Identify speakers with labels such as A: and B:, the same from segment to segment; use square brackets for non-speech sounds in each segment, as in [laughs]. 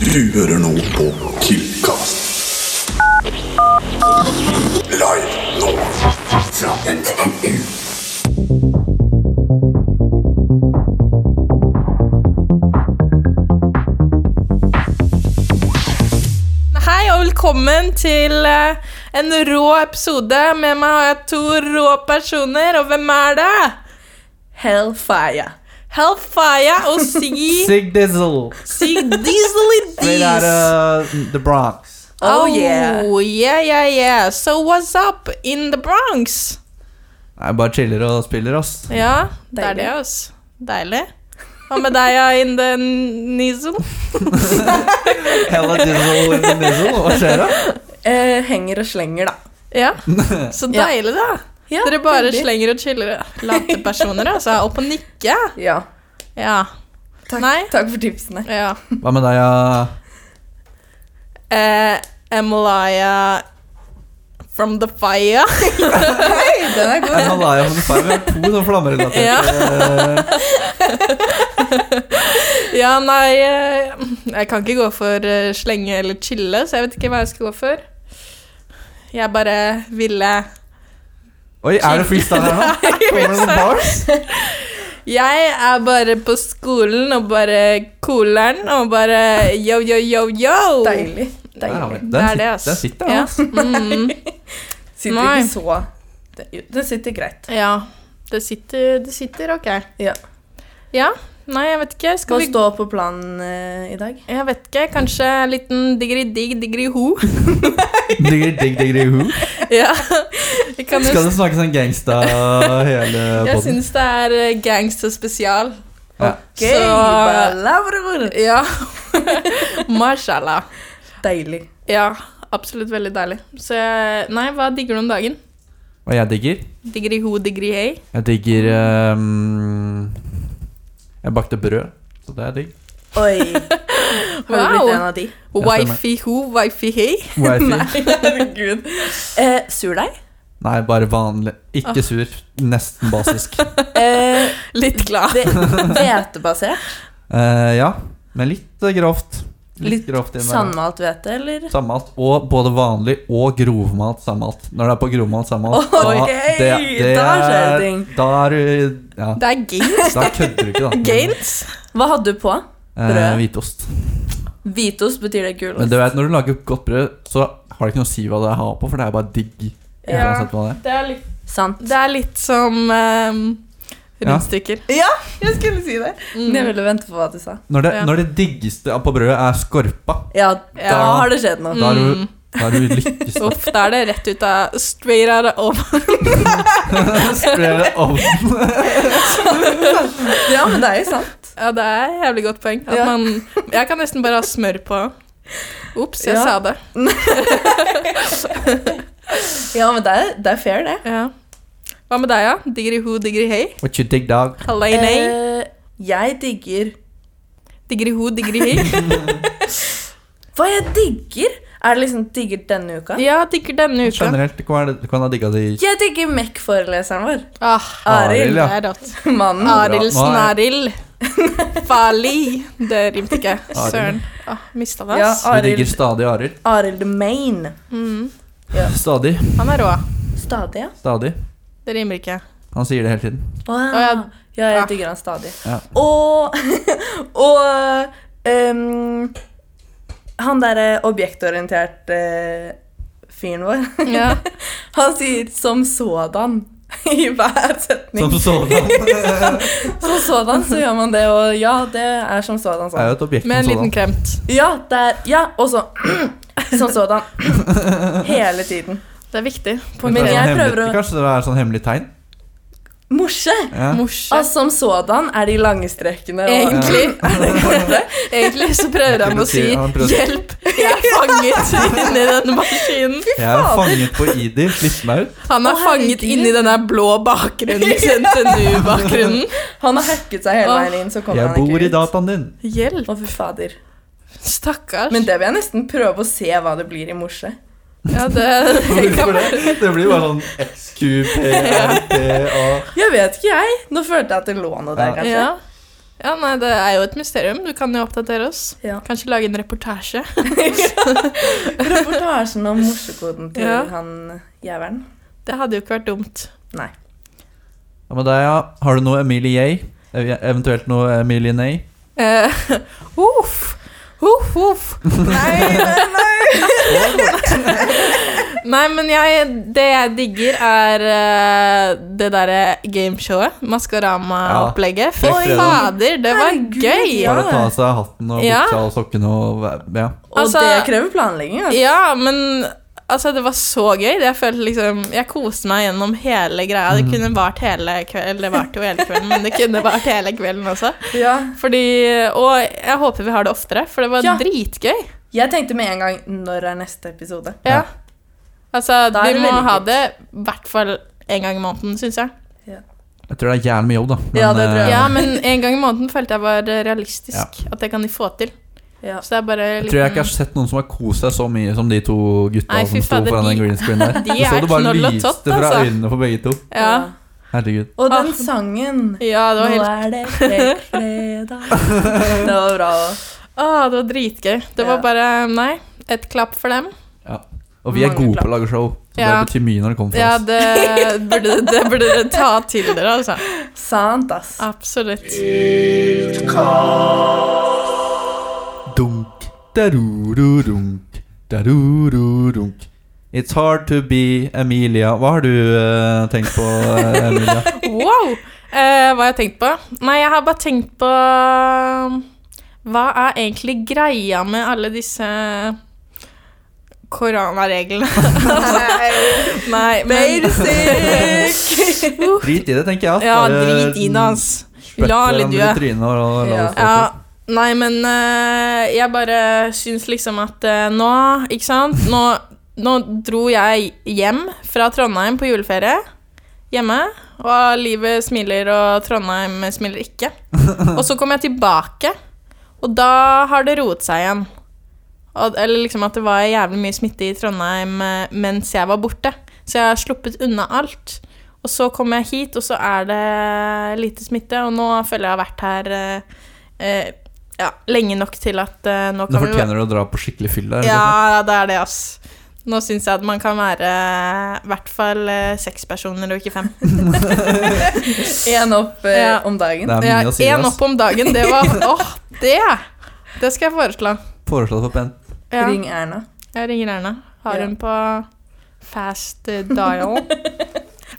A: Du hører nå på Killcast. Live nå fra NTNU.
B: Hei og velkommen til eh, en rå episode. Med meg har jeg to rå personer, og hvem er det? Hellfire. Hellfire og Sig
C: Sig Dizzle.
B: Sig Diesely
C: Straight out of uh, the Bronx.
D: eh,
B: Oh yeah. yeah, yeah, yeah. So what's up in the Bronx?
C: Nei, bare chiller og spiller, ass.
B: Ja, det er det, ass. Deilig. Hva med deg, ja, in the nizzle?
C: Hella Dizzle in the Nizzle. Hva skjer da?
D: Eh, henger og slenger, da.
B: Ja, så
D: Ja.
B: deilig, da. Dere bare slenger og chiller. Late personer, altså. Opp og nikke.
D: Ja.
B: Ja.
D: Takk,
B: Nei.
D: takk for [laughs] tipsene.
B: Ja.
C: Hva med deg, ja?
B: Eh, Emilia from the fire. [laughs]
D: Hei, den er god.
C: Malaya from the Fire. Vi har to sånne flammerelaterte
B: Ja.
C: eh,
B: ja, nei eh, Jeg kan ikke gå for eh, slenge eller chille, så jeg vet ikke hva jeg skal gå for. Jeg bare ville
C: Oi, er det freestyle her nå? Kommer det noen bars?
B: Jeg er bare på skolen og bare cooleren og bare yo, yo, yo, yo.
D: [laughs] Deilig.
C: Der har vi
D: Deilig.
C: Den,
B: Det er
C: sit-
B: det, ass.
C: Den sitter,
B: Ja. [laughs] Mm-hmm.
C: ass.
D: Sitter
B: Nei.
D: ikke så det, det sitter greit.
B: Ja. Det sitter, det sitter, OK.
D: Ja.
B: Ja. Nei, jeg vet ikke.
D: Hva
B: Skal vi
D: står på planen eh, i dag?
B: Jeg vet ikke. Kanskje en liten digri-digg, digri-ho.
C: Digger, digg, digger, who?
B: [laughs] ja. Vi kan jo
C: Skal det snakke sånn gangsta hele
B: Jeg
C: podden?
B: syns det er eh, gangsterspesial.
C: Ja.
B: Så-
D: balavror.
B: Ja. [laughs] Mashallah.
D: Deilig.
B: Ja, absolutt veldig deilig. Så jeg- nei, hva digger du om dagen?
C: Hva jeg digger?
B: Digger i ho, digger i hei.
C: Jeg digger ehm, Jeg bakte brød, så det er
B: [laughs]
C: digg.
D: [laughs] Oi. Har du
B: Wow.
D: blitt en av de?
C: stemmer.
B: Wifi ho, wifi hei.
D: [laughs]
C: Wifi.
B: Nei.
D: Herregud. Eh, surdeig?
C: Nei, bare vanlig. Ikke sur. Nesten basisk. [laughs]
D: Eh,
B: Litt glad.
D: ve- Hvetebasert?
C: Eh, ja, men litt eh, grovt. Litt,
D: Litt
C: grovt innimellom.
D: Sandmalt hvete, eller?
C: Sammalt. Og både vanlig og grovmalt sammalt. Når det er på grovmalt sammalt
D: Ok, da skjer det ting.
C: Da er du Ja,
B: Det er gains.
C: da kødder du ikke, da.
B: Gains?
D: Hva hadde du på?
C: Eh, hvitost.
D: Hvitost betyr det
B: altså.
D: gulost.
C: Men du vet, når du lager godt brød, så har det ikke noe å si hva det har på, for det er bare digg.
B: Ja.
C: Uansett hva det er.
B: Det er litt,
D: Sant.
B: det er litt som um, rundstykker.
D: Ja, jeg skulle si det. Men jeg ville vente på hva du sa.
C: Når det,
B: Ja.
C: når det diggeste på brødet er skorpa,
D: Ja, da
B: Ja.
D: har det skjedd noe.
C: da er du, da er du lykkes. da.
B: Uff, Mm. da er det rett ut av straight out of
C: Sprer det ovnen.
D: Ja, men det er jo sant.
B: Ja, det er et jævlig godt poeng. At
D: Ja.
B: man, jeg kan nesten bare ha smør på. Ops, jeg
D: Ja.
B: sa det.
D: Ja, men det er, det er fair, det.
B: Ja. Hva med deg, ja? Digri ho, digri hei?
C: What you dig, dog?
B: Hallei, nei.
D: Eh, jeg digger
B: Digri ho, digri [laughs] hei.
D: Hva jeg digger? Er det liksom digger denne uka?
B: Ja, digger denne uka.
C: Generelt, hva er det du kan ha digga de
D: Jeg digger Mek-foreleseren vår. [laughs]
B: Ah,
C: Arild,
B: det
C: ja. Mm,
B: er rått.
D: Mannen.
B: Ah. Arildsen
C: Bra.
B: Arild. [laughs] Farlig. Det rimte ikke. Søren. Ah, Mista det,
D: Ja,
B: ass.
C: Du digger
D: Arild
C: stadig Arild.
D: Arild Maine.
C: Stadig.
B: Han er rå.
D: Stadig, ja.
C: Stadig.
B: Det rimer ikke.
C: Han sier det hele tiden.
D: Wow.
B: ja. Ah.
D: Ja,
B: Ja.
D: jeg digger han stadig.
C: Ja.
D: Og [laughs] Og ehm, han derre objektorienterte fyren vår
B: Ja.
D: [laughs] Han sier 'som sådan' i hver setning.
C: Som sådan.
D: Som sådan så gjør man det, og ja, det er som sådan
C: Det er jo
D: sånn.
C: et objekt
B: Med en
C: som
B: liten
C: sådan.
B: kremt.
D: Ja, det er Ja, og så [clears throat] Som sådan. Hele tiden.
B: Det er viktig. På
C: Men
D: Men
C: det er
D: jeg
C: sånn hemmelig-
D: prøver å-
C: Kanskje det er sånn hemmelig tegn?
D: Morse!
C: Ja.
B: morse.
D: Altså, som sådan er de lange strekene. og- [laughs]
B: Egentlig, egentlig så prøver han å si
C: Han prøver å si-
B: 'hjelp, jeg er fanget inni denne maskinen'.
C: Jeg er fanget på ID. Slipp meg ut.
B: Han er
D: Å,
B: fanget
D: herregud.
B: inni denne blå bakgrunnen, [laughs] NTNU-bakgrunnen.
D: Han har hacket seg hele
B: Åh.
D: veien inn, så kommer
C: Jeg
D: han
C: bor i
D: ikke ut.
C: dataen din.
B: Hjelp.
D: Å, fy fader.
B: Stakkars.
D: Men det vil jeg nesten prøve å se hva det blir i morse.
B: Ja, det, det [laughs] kan
C: Hvorfor det? Det blir jo bare sånn XQPRTA
D: Jeg vet ikke, jeg. Nå følte jeg at det lå noe der,
C: Ja.
D: kanskje.
B: ja. Ja, nei, Det er jo et mysterium. Du kan jo oppdatere oss.
D: Ja.
B: Kanskje lage en reportasje. [laughs]
D: Reportasjen om morsekoden til
B: Ja.
D: han jævelen.
B: Det hadde jo ikke vært dumt.
D: Nei.
C: Hva med deg, ja? Har du noe Emilie Yay? Ev- Eventuelt noe Emilie Nay?
B: Eh, [laughs] uff, uff, uff.
D: Nei, nei, nei.
B: Nei, men jeg, det jeg digger, er eh, det derre gameshowet. Maskorama-opplegget. Fy
C: Oi.
B: fader, det var
D: Herregud,
B: gøy!
D: Ja.
C: Bare ta av seg hatten og
B: Ja.
C: buksa og sokkene og Ja.
D: Og
B: Altså-
D: det krever planlegging. Altså.
B: Ja, men altså, det var så gøy. Jeg følte liksom Jeg koste meg gjennom hele greia. Det kunne vart hele kvelden. Det varte jo hele kvelden, men det kunne vart hele kvelden også.
D: Ja.
B: Fordi Og jeg håper vi har det oftere, for det var
D: Ja.
B: dritgøy.
D: Jeg tenkte med en gang Når er neste episode?
B: Ja.
C: Ja.
B: Altså,
D: Da er
B: vi
D: det
B: må
D: veldig
B: ha
D: kult.
B: det i hvert fall en gang i måneden, syns jeg.
C: Jeg tror det er jævlig mye jobb, da.
D: Ja, det tror
C: eh,
D: jeg.
B: Ja, men en gang i måneden følte jeg var eh, realistisk. At det kan de få til.
D: Ja.
B: Så det er bare
C: jeg
B: litt
C: tror jeg ikke har sett noen som har kost seg så mye som de to gutta
B: Nei, fy
C: som sto
B: fader,
C: foran den
B: de-
C: green screen
B: [laughs]
C: der.
B: de
C: Du så
B: er
C: det bare
B: knoll og
C: lyste
B: tott,
C: fra
B: altså.
C: øynene på begge to.
B: Ja.
C: Herregud.
D: Og den
B: Ah.
D: sangen.
B: ja, det var helt
D: Nå er det [laughs] fredag. det var bra òg.
B: Å, det var dritgøy. Det var
D: Ja.
B: bare Nei, et klapp for dem.
C: Og vi er
D: Mange
C: gode
D: klapp.
C: på å lage show, så
B: Ja.
C: det betyr mye når det kommer fra
B: Ja,
C: oss.
B: det burde, det burde dere ta til dere, altså.
D: Sant, ass. [laughs]
B: Absolutt.
C: Dunk, darururunk, darururunk. It's hard to be Emilia. Hva har du eh, tenkt på, eh,
B: [laughs]
C: Emilia?
B: Wow! Eh, hva har jeg tenkt på? Nei, jeg har bare tenkt på Hva er egentlig greia med alle disse koronareglene? [laughs] Altså, Nei, men
D: Basic!
B: [laughs]
C: Drit i det, tenker jeg. ass.
B: Ja,
C: Bare
B: drit i det, ass.
C: spytt
B: La alle
C: hverandre
B: dø.
C: i trynet og la- la
D: Ja.
C: oss få til.
B: Ja, nei, men eh, jeg bare syns liksom at eh, nå, ikke sant nå, nå dro jeg hjem fra Trondheim på juleferie. Hjemme. Og livet smiler, og Trondheim smiler ikke. Og så kom jeg tilbake, og da har det roet seg igjen. Og, eller liksom at det var jævlig mye smitte i Trondheim eh, mens jeg var borte. Så jeg har sluppet unna alt. Og så kom jeg hit, og så er det lite smitte, og nå føler jeg jeg har vært her eh, eh, ja, lenge nok til at eh, nå
C: Nå
B: kan vi
C: fortjener du liksom. å dra på skikkelig fyll der.
B: Ja, det er det, ass. Nå syns jeg at man kan være eh, i hvert fall eh, seks personer og ikke fem.
D: Én opp eh,
B: Ja.
D: om dagen.
C: Det er
B: Ja,
C: mye å si.
B: en
C: ass.
B: opp om dagen, det
C: [laughs]
B: var Åh, det! Det skal jeg foreslå.
C: Foreslått for Bent.
B: Ja,
D: Ring Erna.
B: jeg ringer Erna. Har
D: Ja.
B: hun på fast eh, [laughs] dial?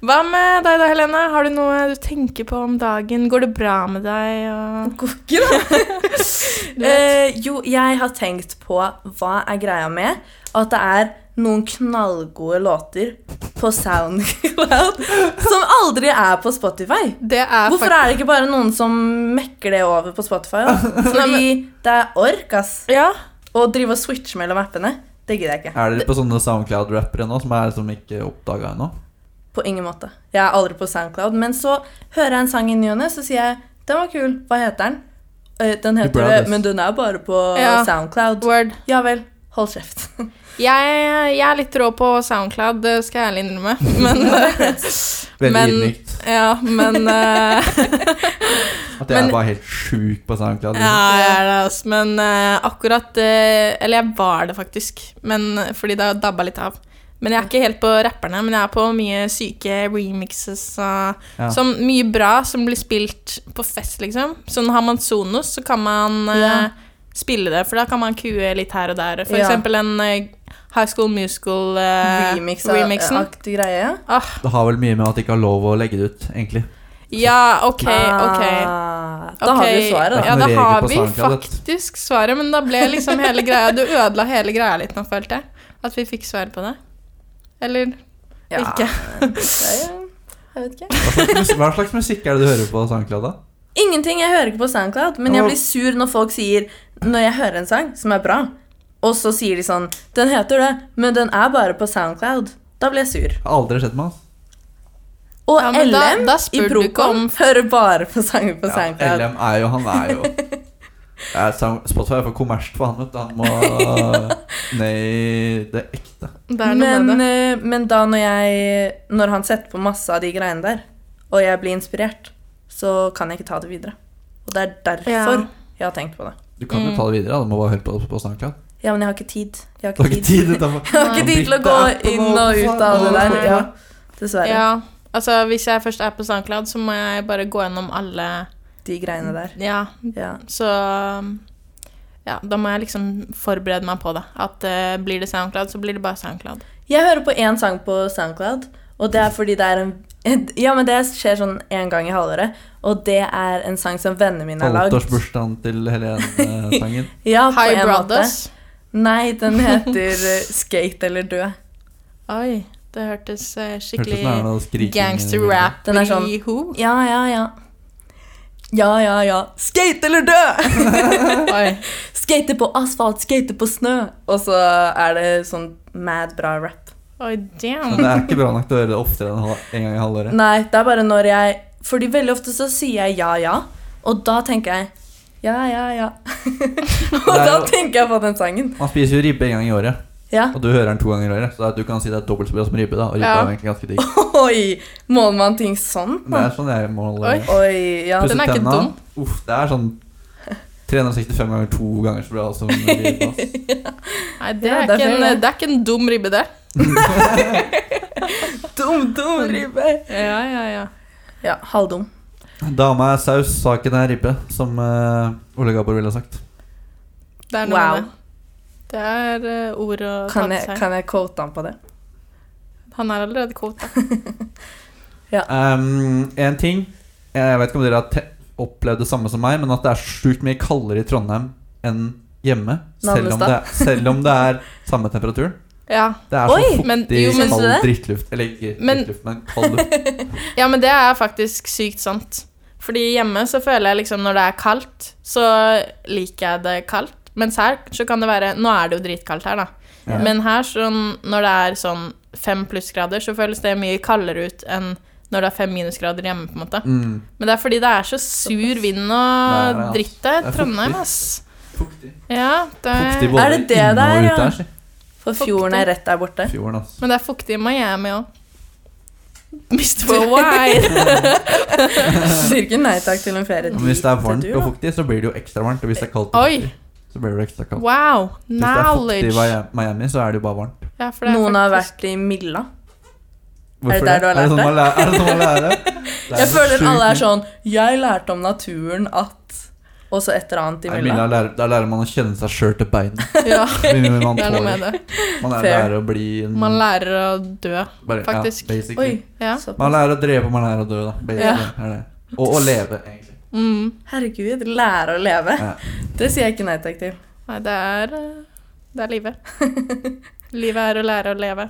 B: Hva med deg da, Helene? Har du noe du tenker på om dagen? Går det bra med deg? Og...
D: Kokke, da. [laughs] eh, jo, jeg har tenkt på hva er greia med at det er noen knallgode låter på SoundCloud [laughs] som aldri er på Spotify.
B: Det er
D: Hvorfor er det ikke bare noen som mekker det over på Spotify? Da? Fordi det er ork, ass.
B: Ja,
D: Å drive og switche mellom appene, det gidder jeg ikke.
C: Er dere på sånne SoundCloud-rappere nå som er som ikke oppdaga ennå?
D: På ingen måte. Jeg er aldri på SoundCloud. Men så hører jeg en sang i ny og ne, så sier jeg den var kul, hva heter den? «Eh, Den heter det,
C: Brothers.
D: men den er bare på
B: Ja.
D: SoundCloud.
B: word.
D: Ja vel, hold kjeft. [laughs]
B: Jeg, jeg er litt rå på SoundCloud, det skal jeg ærlig innrømme. Men,
C: [laughs]
B: eh,
C: Veldig
B: Men-
C: ydmykt.
B: ja, men eh,
C: At jeg
B: men-
C: er bare helt sjuk på SoundCloud. liksom.
B: Ja, jeg er det, altså. Men eh, akkurat eh, Eller jeg var det faktisk, men, fordi det har dabba litt av. Men jeg er ikke helt på rapperne, men jeg er på mye syke remixes. Og,
C: Ja.
B: som, mye bra som blir spilt på fest, liksom. Sånn har man Sonos, så kan man eh,
D: Ja.
B: spille det, for da kan man kue litt her og der. For
D: Ja.
B: eksempel en eh, High School
D: Eh,
B: Musical-remixen.
D: Remix-aktig greie.
B: ah,
C: Det har vel mye med at de ikke har lov å legge det ut, egentlig.
B: ja, ok, ok.
D: Ah, da har vi jo
B: Ok,
D: svaret, da.
B: Ja,
C: Noen
B: da
C: regler
B: har
C: på
B: vi
C: SoundCloud, vet du.
B: faktisk svaret, men da ble liksom hele greia Du ødela hele greia litt nå, følte jeg. At vi fikk svar på det. Eller
D: Ja.
B: ikke.
D: Det er jo- Jeg vet ikke.
C: Hva slags, mus- hva slags musikk er det du hører på SoundCloud, da?
D: Ingenting. Jeg hører ikke på SoundCloud, men jeg blir sur når folk sier Når jeg hører en sang som er bra, og så sier de sånn Den heter det, men den er bare på SoundCloud. Da blir jeg sur.
C: Jeg har aldri sett meg, ass.
D: Og
B: Ja, men da-
D: LM
B: da
D: i
B: spør du ikke
D: Procom
B: om-
D: hører bare på sanger på
C: Ja,
D: SoundCloud.
C: LM er jo Han er jo
D: [laughs]
C: Ja, Sound- Spotify er for kommersielt for han, vet du. Han må Nei, det er ekte.
B: Det er noe
D: men,
B: med det.
D: eh, men da når jeg Når han setter på masse av de greiene der, og jeg blir inspirert, så kan jeg ikke ta det videre. Og det er derfor
B: Ja.
D: jeg har tenkt på det.
C: Du kan jo ta det videre. da. Du må bare høre på det på SoundCloud.
D: Ja, men jeg har ikke tid. Jeg har
C: Du har
D: ikke
C: ikke tid.
D: tid, [laughs]
C: dette
D: jeg har ikke tid til å gå inn og ut av det der. Ja, dessverre.
B: Ja, altså Hvis jeg først er på SoundCloud, så må jeg bare gå gjennom alle
D: De greiene der.
B: Ja,
D: Ja.
B: så Ja, da må jeg liksom forberede meg på det. At eh, blir det SoundCloud, så blir det bare SoundCloud.
D: Jeg hører på én sang på SoundCloud, og det er fordi det er en ja, men det skjer sånn én gang i halvåret, og det er en sang som vennene mine har lagd.
C: Halvårsbursdagen til Helene-sangen.
D: Ja, på
B: Hi
D: en måte.
B: Brothers.
D: Nei, den heter eh, Skate eller dø.
B: Oi, det hørtes eh,
C: Hørtes
B: skikkelig
C: ut som det er noe skriking.
B: gangster-rap
D: Den er sånn-
B: i
D: [laughs]
B: ho.
D: Ja, ja, ja. Ja, ja, ja. Skate eller
B: [laughs]
D: dø!
B: Oi.
D: skate på asfalt, skate på snø. Og så er det sånn mad bra rap.
B: Oi,
C: Men [laughs]
B: damn.
C: det er ikke bra nok til å høre det oftere enn hal- en gang i halvåret.
D: Nei, det er bare når jeg Fordi veldig ofte så sier jeg ja, ja, og da tenker jeg ja, ja, ja. [laughs] og
C: Det er
D: da
C: jo-
D: tenker jeg på den sangen.
C: Man spiser jo ribbe en gang i året,
D: Ja.
C: og du hører den to ganger i året. Så du kan si det er dobbelt så bra som ribbe, da. Og ribbe
B: Ja.
C: er jo egentlig ganske digg.
D: [laughs] Oi! Måler man ting sånn?
C: Det er sånn jeg måler
B: Oi.
D: Oi, ja.
B: Den er ikke
C: tenna.
B: dum.
C: Uff, det er sånn 365 ganger to ganger så bra som
B: [laughs]
C: ribbe. ass.
B: Nei, det
D: Ja,
B: er,
D: det er
B: ikke en, eh,
D: fair, det.
B: det er ikke en dum ribbe, det.
D: Dum, dum ribbe.
B: Ja, ja, ja.
D: Ja, halvdum.
C: Dama er saus, saken er ribbe, som eh, Ole Gabor ville ha sagt.
B: Det er noe
D: Wow.
B: med det. Det er eh, ord å ta
D: Kan
B: til
D: jeg,
B: seg.
D: kan jeg quote han på det?
B: Han er allerede kvota.
C: Um, en ting eh, Jeg vet ikke om dere har te opplevd det samme som meg, men at det er sjukt mye kaldere i Trondheim enn hjemme. Selv om, det,
D: Navlestad.
C: selv om det er samme temperatur.
B: Ja.
C: Det er så
D: Oi,
B: men-
C: fuktig,
B: jo, men-
C: kald
D: Syns du
C: drittluft. Eller ikke
B: Men-
C: drittluft, men kald luft.
B: ja, men det er faktisk sykt sant. Fordi hjemme så føler jeg liksom når det er kaldt, så liker jeg det kaldt. Mens her så kan det være Nå er det jo dritkaldt her, da.
C: Ja.
B: Men her sånn, når det er sånn fem plussgrader, så føles det mye kaldere ut enn når det er fem minusgrader hjemme, på en måte.
C: Mm,
B: Men det er fordi det er så sur vind
C: er det,
B: og
C: ass.
B: dritt
C: Det
B: der.
C: er
B: Trondheim,
C: fuktig.
B: ass.
C: fuktig.
B: Ja, det
C: Fuktig
B: er,
C: både
D: Eh, Er det det
C: inne og
D: der,
C: ute
D: ja?
C: her, si.
D: For fjorden er rett der borte.
C: [laughs] Fjorden, ass.
B: men det er fuktig i Miami
D: [laughs]
B: òg. Mr. Wide.
D: Sier ikke nei takk til en ferie
C: Men hvis det er varmt
D: til du,
C: og
D: da.
C: fuktig, så blir det jo ekstra varmt. Og hvis det er kaldt og
B: Oi!
C: fuktig, så blir det jo ekstra kaldt.
B: Wow!
C: Hvis det er fuktig i
B: Knowledge.
C: Mia- Miami, så er det jo bare varmt.
B: Ja, for det er
D: Noen har
B: faktisk-
D: vært i Milla.
C: Hvorfor
D: der du har
C: Er
D: lært
C: sånn man lærer- Er det sånn man lærer?
D: [laughs]
C: Det
D: Jeg
C: så
D: føler
C: sjukt
D: alle
C: mye.
D: er sånn Jeg lærte om naturen at Og så et eller annet i
C: Nei,
D: Milla.
C: Milla lærer, da lærer man å kjenne seg sjøl til beina.
B: [laughs]
C: [laughs]
B: Ja,
C: Man, man,
B: det er noe
C: tåler.
B: med det.
C: man er
D: Fair.
C: lærer å bli en
B: Man lærer å dø.
C: bare-
B: faktisk.
C: Ja, basically.
D: Oi.
B: Ja.
D: såpass.
C: Man lærer å drepe, man lærer å dø, da. Basically, er det. Og å leve, egentlig.
B: Mm.
D: Herregud, lære å leve.
C: Ja.
D: Det sier jeg ikke nei takk til.
B: Nei, det er eh, Det er
D: [laughs]
B: livet. livet er å lære å leve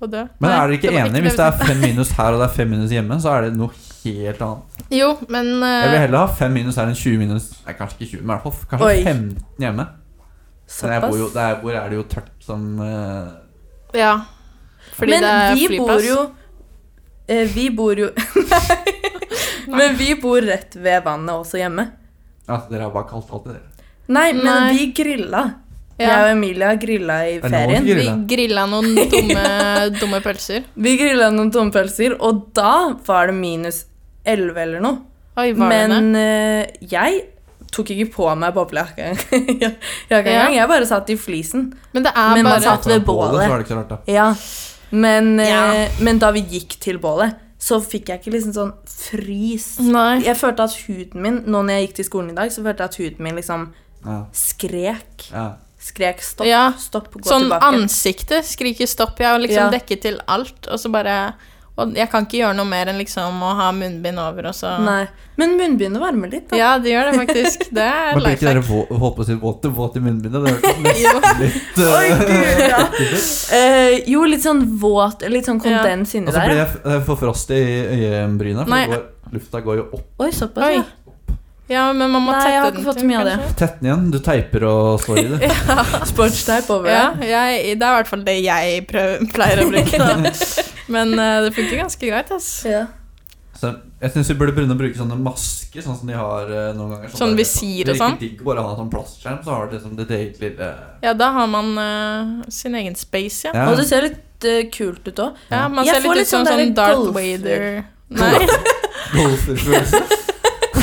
B: og dø.
C: Men
B: Nei,
C: er dere ikke
B: var
C: enige?
B: det
C: Hvis det
B: vi
C: er fem minus her og det er fem minus hjemme, så er det noe helt annet.
B: sa. Jo, men eh,
C: Jeg vil heller ha fem minus her enn 20 minus Nei, kanskje ikke 20, men i hvert fall f- kanskje
D: Oi.
C: 15 hjemme. Men jeg bor jo,
D: Såpass.
C: der hvor er det jo tørt som eh,
B: Ja. Fordi
D: Men
B: det er
D: vi
B: flyplass.
D: bor jo eh, Vi bor jo [laughs] Nei. Men vi bor rett ved vannet også hjemme.
C: Ja, dere har bare kaldt alltid, dere.
D: Nei, men
B: Nei.
D: vi grilla. Jeg og
B: ja.
D: Emilia grilla i
C: Er det noen
D: ferien.
C: griller?
B: Vi grilla noen dumme, dumme pølser.
D: Vi grilla noen tompølser, og da var det minus 11 eller noe.
B: Oi, var det det?
D: Men eh, jeg tok ikke på meg [laughs] boblejakka engang. Jeg bare satt i flisen.
B: Men det er
D: men man
B: bare
D: satt ved bålet.
C: Så var det ikke så rart, da.
D: Ja. Men, eh,
B: Ja.
D: men da vi gikk til bålet, så fikk jeg ikke liksom sånn frys.
B: Nei.
D: Jeg følte at huden min, nå når jeg gikk til skolen i dag, så følte jeg at huden min liksom
C: Ja.
D: skrek.
C: Ja.
D: Skrek stopp,
B: Ja.
D: stopp, gå
B: Sånn
D: tilbake.
B: ansiktet skriker stopp. Jeg har liksom
D: Ja.
B: dekket til alt, og så bare Og jeg kan ikke gjøre noe mer enn liksom å ha munnbind over, og så
D: Nei. Men munnbindet varmer litt, da.
B: Ja, det gjør det faktisk. Det er
C: Men blir ikke
B: life
C: dere vå- holdt på å si våte, våt i munnbindet? Det hørtes nesten litt
D: Oi,
C: eh,
D: gud, ja.
C: [laughs]
D: Eh, jo, litt sånn våt, litt sånn
B: Ja.
D: kondens inni
C: Og så blir
D: der.
C: jeg f- eh, for frostig i øyebryna, for
B: Nei.
C: det går, lufta går jo opp.
D: Oi, såpass,
B: Oi.
D: ja.
B: Ja, men man må
D: Nei,
B: tette
D: jeg har
B: den
D: ikke fått
B: til,
D: mye av det.
B: kanskje?
C: Tett den igjen. Du teiper og
B: [laughs]
C: står i det.
D: Sportsteip over
B: Ja,
D: der.
B: jeg, det er i hvert fall det jeg prøv, [laughs] pleier å bruke. Da.
D: [laughs]
B: Men eh, det funker ganske greit. ass.
D: Ja.
C: Så jeg syns vi burde begynne å bruke sånne masker, sånn som de har eh, noen ganger.
B: Sånn
C: der-
B: visir og sånn?
C: Det er ikke digg å bare ha sånn plastskjerm, så har du liksom ditt eget lille
B: Ja, da har man eh, sin egen space, ja.
C: ja.
D: Og det ser litt eh, kult ut òg.
B: ja man
D: Jeg
B: ser
D: får liksom
B: litt ut som
D: litt [laughs] sånn
B: sånn
D: der
B: Darth [laughs]
D: golfer.
B: Vader. Nei,
C: golferfølelse.
D: [laughs]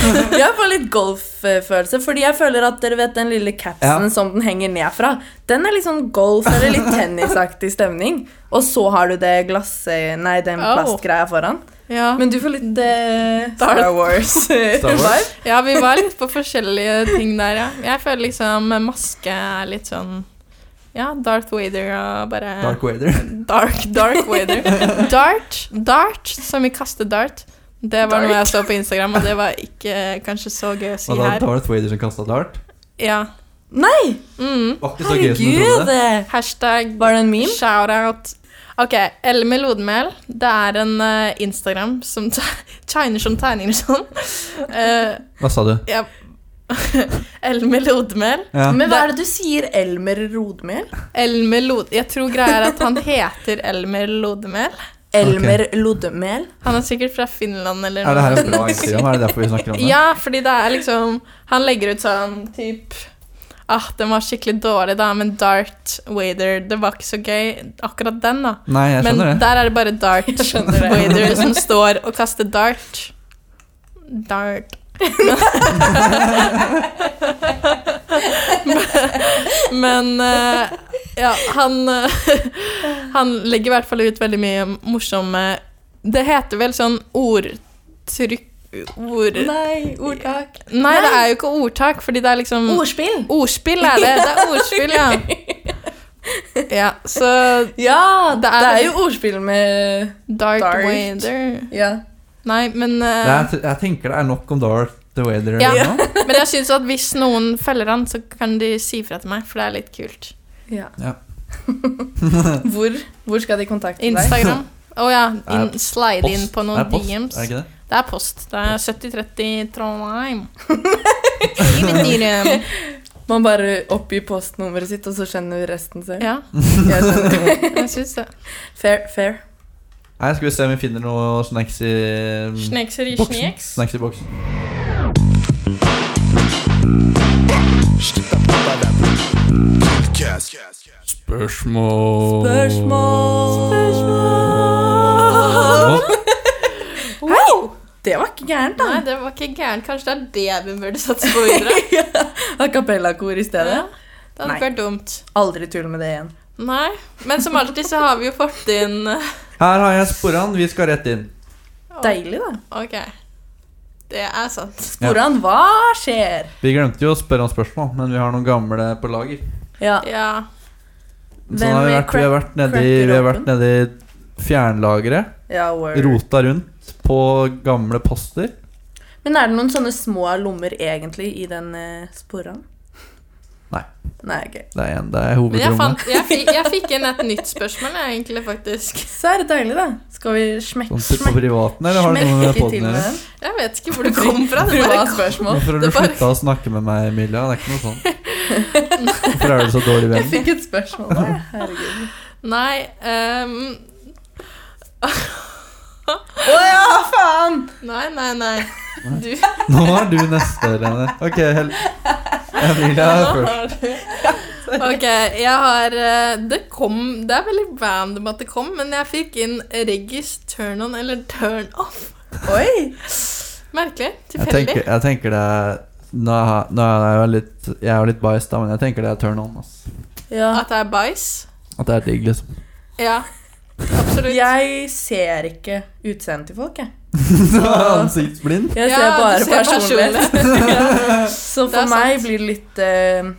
D: Jeg får litt golffølelse, fordi jeg føler at dere vet den lille capsen
C: Ja.
D: som den henger ned fra, den er litt sånn golf eller
C: [laughs]
D: litt tennisaktig stemning. Og så har du det glass... Nei, den
B: Au.
D: plastgreia foran.
B: Ja.
D: Men du får litt eh,
B: Star-
D: Star Wars-vibe.
C: Star Wars?
B: ja, vi var litt på forskjellige ting der, ja. Jeg føler liksom maske er litt sånn Ja, Darth Vader og bare
C: Dark Wader.
B: Dark, dark weather.
C: [laughs]
B: Dart, dart, som vi kaster dart. Det var noe jeg så på Instagram, og det var ikke eh, kanskje så gøy å si
C: Og da
B: her.
C: Darth Vader som kasta dart?
B: Ja.
D: [laughs] Nei!
B: Mm.
C: Var ikke så gøy som du
D: Herregud!
C: trodde.
B: Hashtag
D: Var det en meme?
B: shoutout. Ok, Elle med lodemel. Det er en eh, Instagram som te- [laughs] tegner som tegninger sånn. Eh,
C: Hva sa du?
B: ja. [laughs] Elle med lodemel.
C: Ja.
D: Men hva er det du sier? Elmer
C: [laughs]
D: Lodemel?
B: Elmer Lod... Jeg tror greia er at han heter Elmer Lodemel.
D: Elmer Lodemel?
B: Han er sikkert fra Finland eller
C: Er det her
B: noe.
C: en bra Instagram? Er det derfor vi snakker om det?
B: Ja, fordi det er liksom Han legger ut sånn typ Ah, den var skikkelig dårlig, da, men Dart Wader Det var ikke så gøy, akkurat den, da.
C: Nei, jeg
B: men
C: skjønner det.
B: der er det bare Dart Wader som står og kaster dart. Dart. [laughs] men eh, ja, han eh, Han legger i hvert fall ut veldig mye morsomme Det heter vel sånn ordtrykk Ord... Nei,
D: Nei, ordtak.
B: det er jo ikke ordtak, fordi det er liksom
D: Ordspill.
B: Ordspill er det. Det
D: [laughs]
B: er ordspill, ja. Ja, så
D: Ja,
B: det
D: det
B: er-
D: er, jo ordspill med
B: Dark,
D: Dart.
B: Wader
D: Ja.
B: Nei, men eh,
C: Nei, Jeg, t- jeg tenker det er nok om Darth Vader.
B: Ja.
C: eller noe.
B: Men jeg syns at hvis noen feller han, så kan de si fra til meg, for det er litt kult.
D: ja.
C: Ja.
D: [laughs]
C: [laughs]
D: Hvor, hvor skal de kontakte deg?
B: Instagram. Å
C: [laughs]
B: ja.
C: er
B: In, slide inn
C: Post.
B: på
C: Det
B: noen
C: er post,
B: DMs.
C: Er det ikke det?
B: Det er post. Det er 7030 Trondheim. Eventyret.
D: Man bare oppgir postnummeret sitt, og så skjønner vi resten selv.
B: [laughs] ja,
D: [laughs] Jeg skjønner.
B: jeg syns det.
D: Fair, fair.
C: Nei, skal vi se om vi finner noe snacks i mm,
B: Snekser i
C: boksen.
B: sneks.
C: Snacks i boksen.
A: Spørsmål
B: [laughs]
C: Å,
D: Hei! Det var ikke gærent,
B: Nei,
D: da.
B: det var ikke gærent. Kanskje det er det vi burde satse på
D: [laughs]
B: videre.
D: A cappella-kor i stedet.
B: Ja, det hadde
D: Nei.
B: ikke vært dumt.
D: Aldri tull med det igjen.
B: Nei. Men som alltid så har vi jo fått inn [laughs] eh,
C: Her har jeg sporene. Vi skal rett inn.
D: Deilig, da.
B: Ok. Det er sant.
D: Hvordan hva skjer?
C: Vi glemte jo å spørre om spørsmål, men vi har noen gamle på lager.
D: Ja.
B: Ja.
C: Sånn
D: Hvem
C: har
D: vil
C: vi vært. Vi har
D: crack-
C: vært nedi,
D: cracker
C: vi har
D: åpen?
C: vært nedi fjernlageret.
D: ja word.
C: Rota rundt på gamle poster.
D: Men er det noen sånne små lommer egentlig i den uh, sporan?
C: Nei.
D: Nei, ok.
C: Det er en, det er
B: Men jeg,
C: hovedrommet.
B: fant, jeg, fikk, jeg fikk inn et nytt spørsmål, jeg, egentlig, faktisk.
D: Så er det deilig, da. Skal vi smekke
C: Sånn til på privaten, eller har du noe med podden å gjøre?
B: Jeg vet ikke
D: [laughs]
B: hvor det kom fra. Det bare
D: Privat
B: kom.
D: spørsmål.
C: Hvorfor har du
B: Det bare-
C: slutta å snakke med meg, Emilia? Det er ikke noe sånt. Hvorfor er du så
D: [laughs]
C: dårlig
D: Jeg
C: venn?
D: fikk et spørsmål da. jeg. Herregud.
B: Nei ehm,
D: Å ja, faen!
B: Nei, nei, nei. Du
C: Nå er du neste, Rene. Ok, hel... Emilia er først.
B: Ok, jeg har eh, Det kom Det er veldig random at det kom, men jeg fikk inn Reggis turn on eller turn off.
D: Oi!
B: Merkelig.
C: Jeg
B: Tilfeldig.
C: tenker, jeg tenker det er nå er, nå er jeg, jo litt, jeg er jo litt biased, da, men jeg tenker det er turn on. Ass.
D: Ja.
B: At det er bæsj.
C: At det er digg, liksom.
B: Ja. Absolutt.
D: Jeg ser ikke utseendet til folk, jeg.
C: [laughs] Ansiktsblind.
B: [laughs]
D: Jeg
B: Ja,
D: ser
B: du
D: bare
B: ser
D: personlighet. [laughs] Ja. Så
B: Det er
D: for meg
B: sant.
D: blir det litt eh,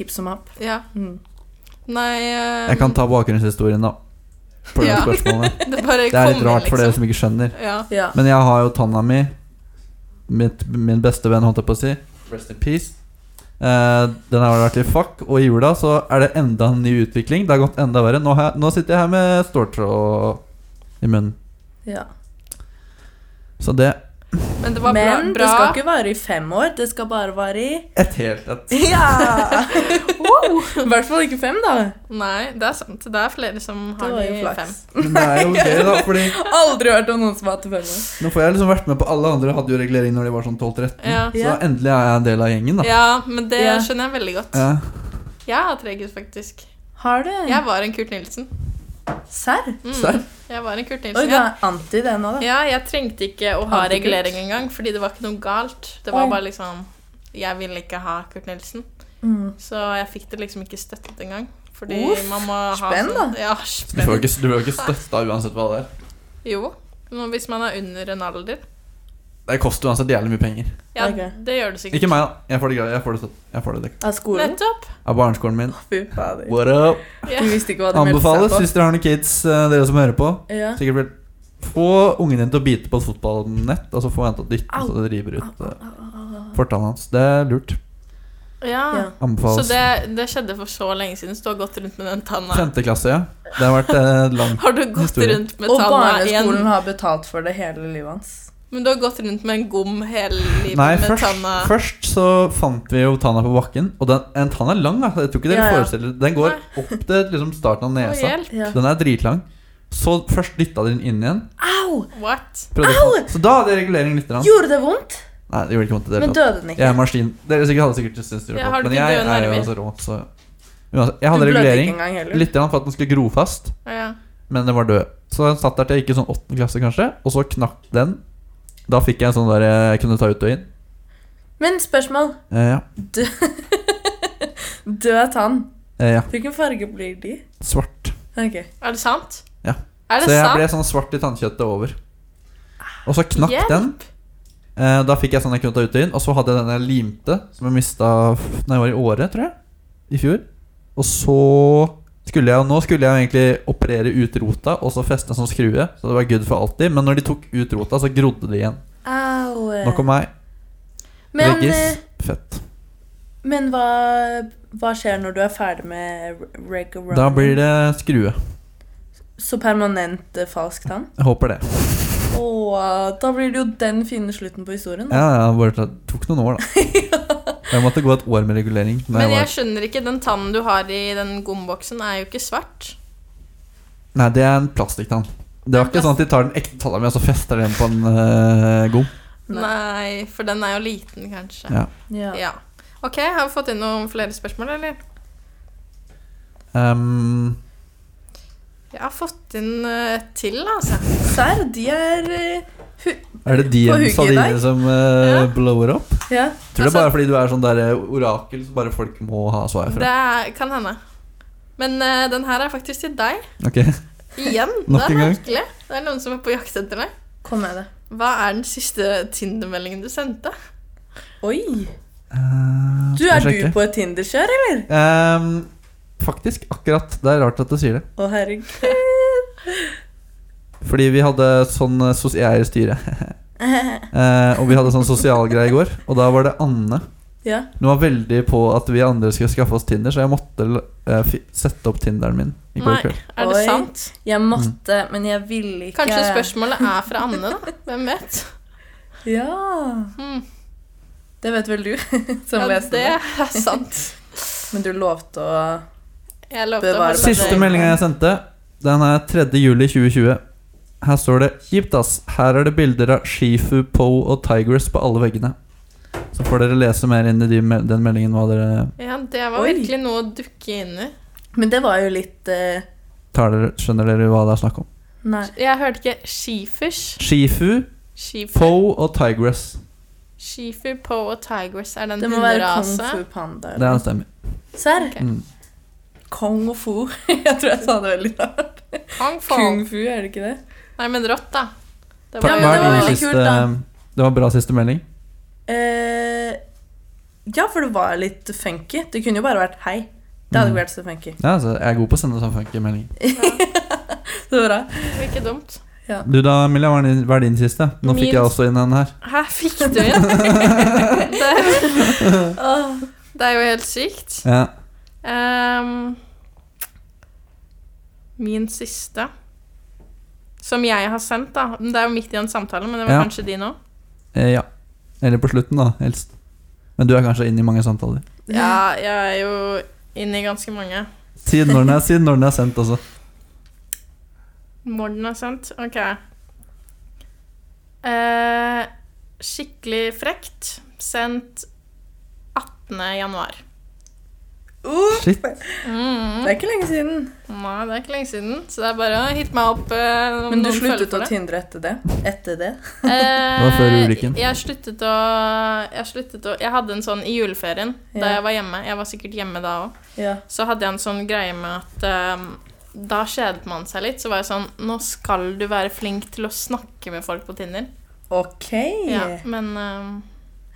D: hipp som happ.
B: Ja.
D: Mm.
B: Nei ehm,
C: Jeg kan ta bakgrunnshistorien, da. For det
B: Ja.
C: spørsmålet.
B: Det bare
C: Det er litt
B: kom
C: rart
B: inn,
C: for dere
B: liksom.
C: som ikke skjønner.
B: Ja.
D: Ja.
C: Men jeg har jo tanna mi mitt, Min beste venn, holdt jeg på å si Rest in peace Eh, Den har vært i fuck Og i jula så er det enda en ny utvikling Det har gått enda verre Nå, har jeg- nå sitter jeg her med ståltråd i munnen
D: ja.
C: Så det
B: Men det var bra.
D: Men det
B: bra.
D: skal ikke vare i fem år, det skal bare vare i
B: [laughs]
C: Et helt et
D: [laughs] Ja! I hvert fall ikke fem, da.
B: Nei, det er sant. Det er flere som
D: Det
B: har
D: var jo
B: de fem.
D: flaks.
C: Men det er jo gøy da Fordi
D: Aldri hørt om noen som har hatt det fem år.
C: nå får jeg liksom vært med på alle andre Hadde jo regulering når de var sånn 12-13
B: Ja.
C: Så da endelig er jeg en del av gjengen da ja.
B: Ja, men det
D: Ja.
B: skjønner jeg veldig godt. Jeg har hatt regus, faktisk.
D: Har du?
B: Jeg var en Kurt Nilsen.
D: Serr?
B: Mm.
C: Serr?
B: Jeg var en Kurt
D: Oi,
B: Nilsen.
D: du
B: Ja.
D: er anti det nå, da.
B: ja, jeg trengte ikke å ha
D: Antikult.
B: regulering engang, fordi det var ikke noe galt. Det var
D: Oi.
B: bare liksom Jeg ville ikke ha Kurt Nilsen.
D: Mm.
B: Så jeg fikk det liksom ikke støttet engang. Fordi
D: Uff,
B: man må ha
D: spenn,
B: sånn-
D: da.
B: Ja,
C: Du
B: spenn.
C: får jo ikke, du får jo ikke støtta uansett hva det er.
B: Jo. men Hvis man er under en alder.
C: Det koster uansett jævlig mye penger.
B: Ja,
D: Ok.
B: det gjør det sikkert.
C: Ikke meg, da. Jeg får det greit. Jeg får det, støtt- jeg får det dekket.
D: Av skolen?
B: Nettopp.
C: Av barneskolen min.
D: Fy fader.
C: What up?
B: Ja.
D: Du visste ikke hva du
C: Anbefales
D: meldte
C: hvis dere har noen kids, eh, dere som hører på.
D: på. Ja.
C: Sikkert vel Få ungen din til å bite på et fotballnett, og så få jenta til å dytte, så det river ut eh, fortanna hans. Det er lurt.
B: Ja.
D: Ja.
B: Så
C: Anbefales.
B: det, det skjedde for så lenge siden, så du har gått rundt med den tanna.
C: Femte klasse, ja. Det har vært eh, langt.
B: Har du gått
C: Historie.
B: rundt med
D: Og
B: tanna i en
D: barneskolen har betalt for det hele livet hans.
B: Men du har gått rundt med en gom hele [laughs] livet
C: Nei,
B: med
C: først,
B: tanna
C: først så fant vi jo tanna på bakken. Og den, en tann er lang. Altså. Jeg tror ikke dere
D: Ja, ja.
C: forestiller Den går
B: Nei.
C: opp til liksom, starten av
B: Å,
C: nesa.
B: hjelp.
D: Ja.
C: Den er dritlang. Så først dytta de den inn igjen.
D: Au!
B: What?
C: Prøvde å få- Så da hadde regulering litt. Grann.
D: Gjorde det vondt?
C: Nei, det gjorde ikke vondt i det
D: Men
C: hele tatt.
D: døde den
C: Jeg er
D: ikke?
C: en maskin. Dere sikkert hadde sikkert syntes det
B: Ja, har
C: gjorde
B: du
C: vondt, men
B: ikke
C: jeg
B: døde
C: er jo
B: nerver?
C: også rå, så Uansett, Jeg
D: Du
C: hadde
D: blødde ikke
C: regulering
D: engang heller.
C: litt grann for at den skulle gro fast,
B: Å, ja.
C: men den var død. Så jeg satt der til jeg gikk i sånn åttende klasse, kanskje, og så knakk den. Da fikk jeg en sånn der jeg kunne ta ut og inn.
D: Men spørsmål.
C: Eh, ja.
D: Død tann.
C: Eh, ja.
D: Hvilken farge blir de?
C: Svart.
D: Ok.
B: Er det sant?
C: Ja.
B: Er det
C: Så jeg
B: sant?
C: ble sånn svart i tannkjøttet over. Og så knakk
B: Hjelp!
C: den. Eh, da fikk jeg sånn jeg kunne ta ut og inn. Og så hadde jeg den jeg limte, som jeg mista da jeg var i Åre, tror jeg. I fjor. Og så skulle jeg, og nå skulle jeg jo egentlig operere ut rota og så feste en sånn skrue. Så det var good for alltid. Men når de tok ut rota, så grodde det igjen.
D: Au.
B: Eh.
C: Nok om meg.
D: Men,
C: Veggis.
D: eh,
C: Fett.
D: men hva, hva skjer når du er ferdig med regular?
C: Da blir det skrue.
D: Så permanent eh, falsk tann?
C: Jeg håper det.
D: Åh, da blir det jo den fine slutten på historien. da.
C: Ja, ja, bare det tok noen
B: [laughs]
C: år, da. Jeg måtte gå et år med regulering. da
B: Men
C: jeg var-
B: jeg skjønner ikke, den tannen du har i den gomboksen er jo ikke svart.
C: Nei, det er en plastikktann. Det var ikke sånn at de tar den ekte tanna mi og så fester den på en eh, gom.
D: Nei.
B: Nei. for den er jo liten, kanskje.
C: Ja.
D: Ja.
B: Ja. Ok, har vi fått inn noen flere spørsmål, eller?
C: Ehm,
B: Jeg har fått inn eh, et til, altså.
D: Serr, de er eh, hu-
C: er det
D: På
C: de
D: hugget i dag?
C: sardinene som eh,
B: Ja.
C: blower opp?
D: Ja.
C: Tror det
B: Altså-
C: er bare fordi du er sånn der eh, orakel så bare folk må ha svar
B: Det
C: fra.
B: er- kan hende. Men eh, den her er faktisk til deg.
C: Ok, Eh,
B: Igjen.
C: [laughs] Nok
B: det er
C: en gang.
B: merkelig. Det er noen som er på jakt etter deg.
D: Kom med det.
B: Hva er den siste Tinder-meldingen du sendte?
D: Oi.
C: Eh,
D: Du,
C: skal
D: er
C: jeg
D: du
C: sjekke?
D: på et Tinder-kjør, eller?
C: Ehm, Faktisk akkurat. Det er rart at du sier det.
D: Å, herregud. [laughs]
C: Fordi vi hadde sånn eh, sos Jeg er i styret. [laughs] Eh, og vi hadde sånn sosialgreie i går, og da var det Anne
D: Ja.
C: Hun var veldig på at vi andre skulle skaffe oss Tinder, så jeg måtte eh, fi- sette opp Tinderen min i går
B: Nei,
C: kveld.
B: er det
D: Oi.
B: sant?
D: Jeg måtte,
C: Mm.
D: men jeg ville ikke.
B: Kanskje spørsmålet er fra Anne, da. Hvem vet?
D: Ja.
B: Hmm.
D: Det vet vel du [laughs] som
B: Ja, det
D: leste det.
B: er sant.
D: [laughs] Men du lovte å
B: Jeg lovte å
D: Bevare
B: holde
C: Siste
D: det-
B: meg.
C: meldinga jeg sendte, den er 3. juli 2020. Her står det 'Kjipt, ass'. Her er det bilder av Shifu, Po og Tigress på alle veggene. Så får dere lese mer inn i de, me- den meldingen hva dere
B: Ja, det var
D: Oi.
B: virkelig noe å dukke inn i.
D: Men det var jo litt eh,
C: tar dere, Skjønner dere hva det er snakk om?
D: Nei.
B: Jeg hørte ikke Shefish.
C: Shifu,
B: Shefu,
C: Po og Tigress.
B: Shefu Po og Tigress er den
D: Det må være Kung
B: hunderase.
D: Fu Panda.
C: Det er en stemme.
D: Serr?
B: Ok.
C: Mm.
D: Kong og fu. [laughs] Jeg tror jeg sa det veldig rart.
B: Kung Fu.
D: Kung fu, er det ikke det?
B: Nei, men rått, da. Det
C: Takk,
B: var,
D: men
C: hva
B: jo-
D: det
C: er
D: var
C: din
D: veldig
C: siste-
D: kult, da.
C: Det var en bra siste melding.
D: Eh, ja, for det var litt funky. Det kunne jo bare vært hei. Det hadde
C: Mm.
D: ikke vært så
B: [laughs]
D: funky.
C: Ja, altså, jeg er god på å sende sånne funky meldinger.
D: Det var bra.
B: ikke dumt.
C: Du da, Emilia, hva er din- hva er din siste? Nå fikk
B: Min-
C: jeg også inn en her.
B: Her fikk du inn. [laughs] det,
D: Åh.
B: det er jo helt sykt.
C: Ja.
B: Ehm, min siste. Som jeg har sendt, da. Det er jo midt i en samtale, men det var
C: Ja.
B: kanskje din òg.
C: Eh, ja. Eller på slutten, da, helst. Men du er kanskje inne i mange samtaler.
B: [laughs] Ja, jeg er jo inne i ganske mange.
C: Si når den er, si når den er sendt, altså.
B: Morden er sendt. Ok. Eh, skikkelig frekt. Sendt 18. januar.
D: Uh,
C: Shit.
D: det er ikke lenge siden.
B: Nei, det er ikke lenge siden, så det er bare å hitte meg opp. eh, om
D: Men du
B: noen føler
D: sluttet
B: for
D: å
B: det.
D: tindre etter det? Etter det?
B: Eh,
C: var før ulykken.
B: Jeg sluttet å Jeg sluttet å Jeg hadde en sånn i juleferien da
D: Ja.
B: jeg var hjemme. Jeg var sikkert hjemme da òg.
D: Ja.
B: Så hadde jeg en sånn greie med at ehm, da kjedet man seg litt. Så var jeg sånn Nå skal du være flink til å snakke med folk på Tinder.
D: Ok.
B: Ja, men ehm,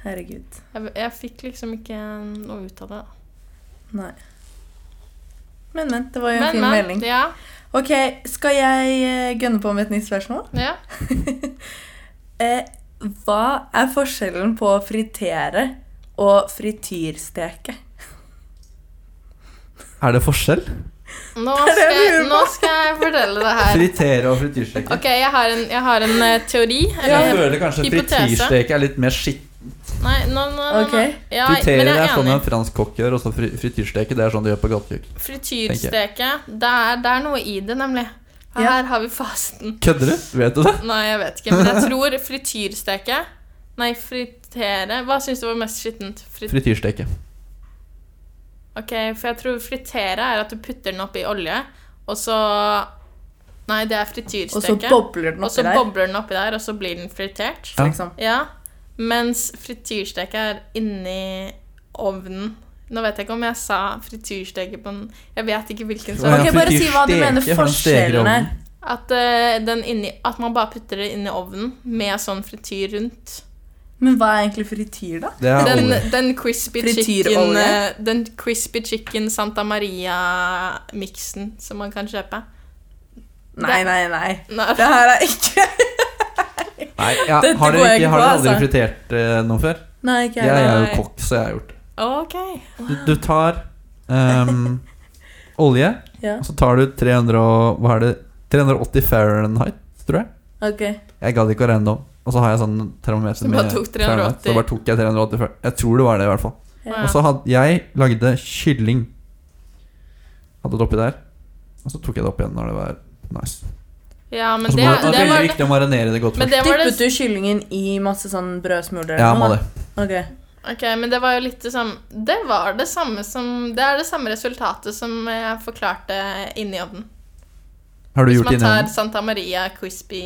D: Herregud.
B: jeg, jeg fikk liksom ikke noe ut av det.
D: Nei. Men, men. Det var jo en
B: Men,
D: fin
B: men.
D: melding.
B: Ja,
D: Ok, skal jeg eh, gønne på med et nytt spørsmål? [laughs]
B: ja.
D: Eh, hva er forskjellen på å fritere og frityrsteke?
C: Er det forskjell?
B: Nå,
D: [laughs] Det
B: skal
D: er det jeg
B: jeg,
D: lurer på.
B: nå skal jeg fortelle det her.
C: Fritere og frityrsteke.
B: Ok, jeg har en, jeg har en eh, teori.
C: Jeg
B: eller-
C: føler kanskje
B: Hypotese.
C: frityrsteke er litt mer skitt.
B: Nei, nå, nå, nå, nå.
D: Ok.
B: Ja, men
C: Fritere
B: jeg
C: det er
B: er
C: sånn
B: enig.
C: en fransk kokk gjør, og så fri- frityrsteke det er sånn du gjør på gatekjøkken.
B: Frityrsteke. Det er, det er noe i det, nemlig. Her
D: Ja.
B: har vi fasten.
C: Kødder du? Vet du det?
B: Nei, jeg vet ikke, men jeg tror frityrsteke Nei, fritere Hva syns du var mest skittent? Frit
C: Frityrsteke.
B: ok, for jeg tror fritere er at du putter den oppi olje, og så Nei, det er frityrsteke.
D: Og så bobler den
B: Og så
D: oppi der.
B: bobler den oppi der, og så blir den fritert.
C: Ja.
D: Liksom.
B: Ja. Mens frityrsteke er inni ovnen. Nå vet jeg ikke om jeg sa frityrsteke på den Jeg vet ikke hvilken som
C: Ja,
D: Ok, Bare si hva du
C: frityrsteke,
D: mener
C: for den steker
D: forskjellen
C: i
D: er.
C: ovnen.
B: At, eh, den inni, at man bare putter det inni ovnen med sånn frityr rundt.
D: Men hva er egentlig frityr, da?
C: Det er
B: Den,
C: olje.
B: den crispy
D: Frityrolje?
B: chicken eh, Den crispy chicken Santa Maria-miksen som man kan kjøpe.
D: Nei, nei, nei.
B: Nei,
D: Det her er ikke
C: Nei, ja,
D: Dette
C: har dere
D: går jeg
C: ikke,
D: ikke
C: har dere
D: på,
C: aldri
D: altså.
C: fritert eh, noe før?
D: [laughs] Nei, ikke
C: Jeg er jo
B: Nei.
C: kokk, så jeg har gjort det.
B: OK.
C: Du, du tar ehm, olje,
D: Ja.
C: og så tar du 300 og, hva er det, 380 Fahrenheit, tror jeg.
D: Ok.
C: Jeg gadd ikke å regne det om. Og så har jeg sånn termometer
B: Så bare tok 380.
C: Så bare tok jeg 380 Fahr- Jeg tror det var det, i hvert fall.
B: Ja.
C: Og så hadde jeg lagde kylling. Hadde det oppi der. Og så tok jeg det opp igjen når det var nice.
B: Ja, men
C: Og så
B: det,
C: må det,
B: det
C: veldig
B: var det.
C: viktig å marinere det godt
B: Men
C: først.
B: det var det
D: Dyppet du kyllingen i masse sånn brødsmuler?
C: Ja, må det.
D: Ok.
B: Mm. Ok, men det var jo litt det samme Det var det samme som Det er det samme resultatet som jeg forklarte inni ovnen.
C: Har du
B: Hvis
C: gjort det
B: man
C: inni
B: tar
C: ovnen?
B: Santa Maria crispy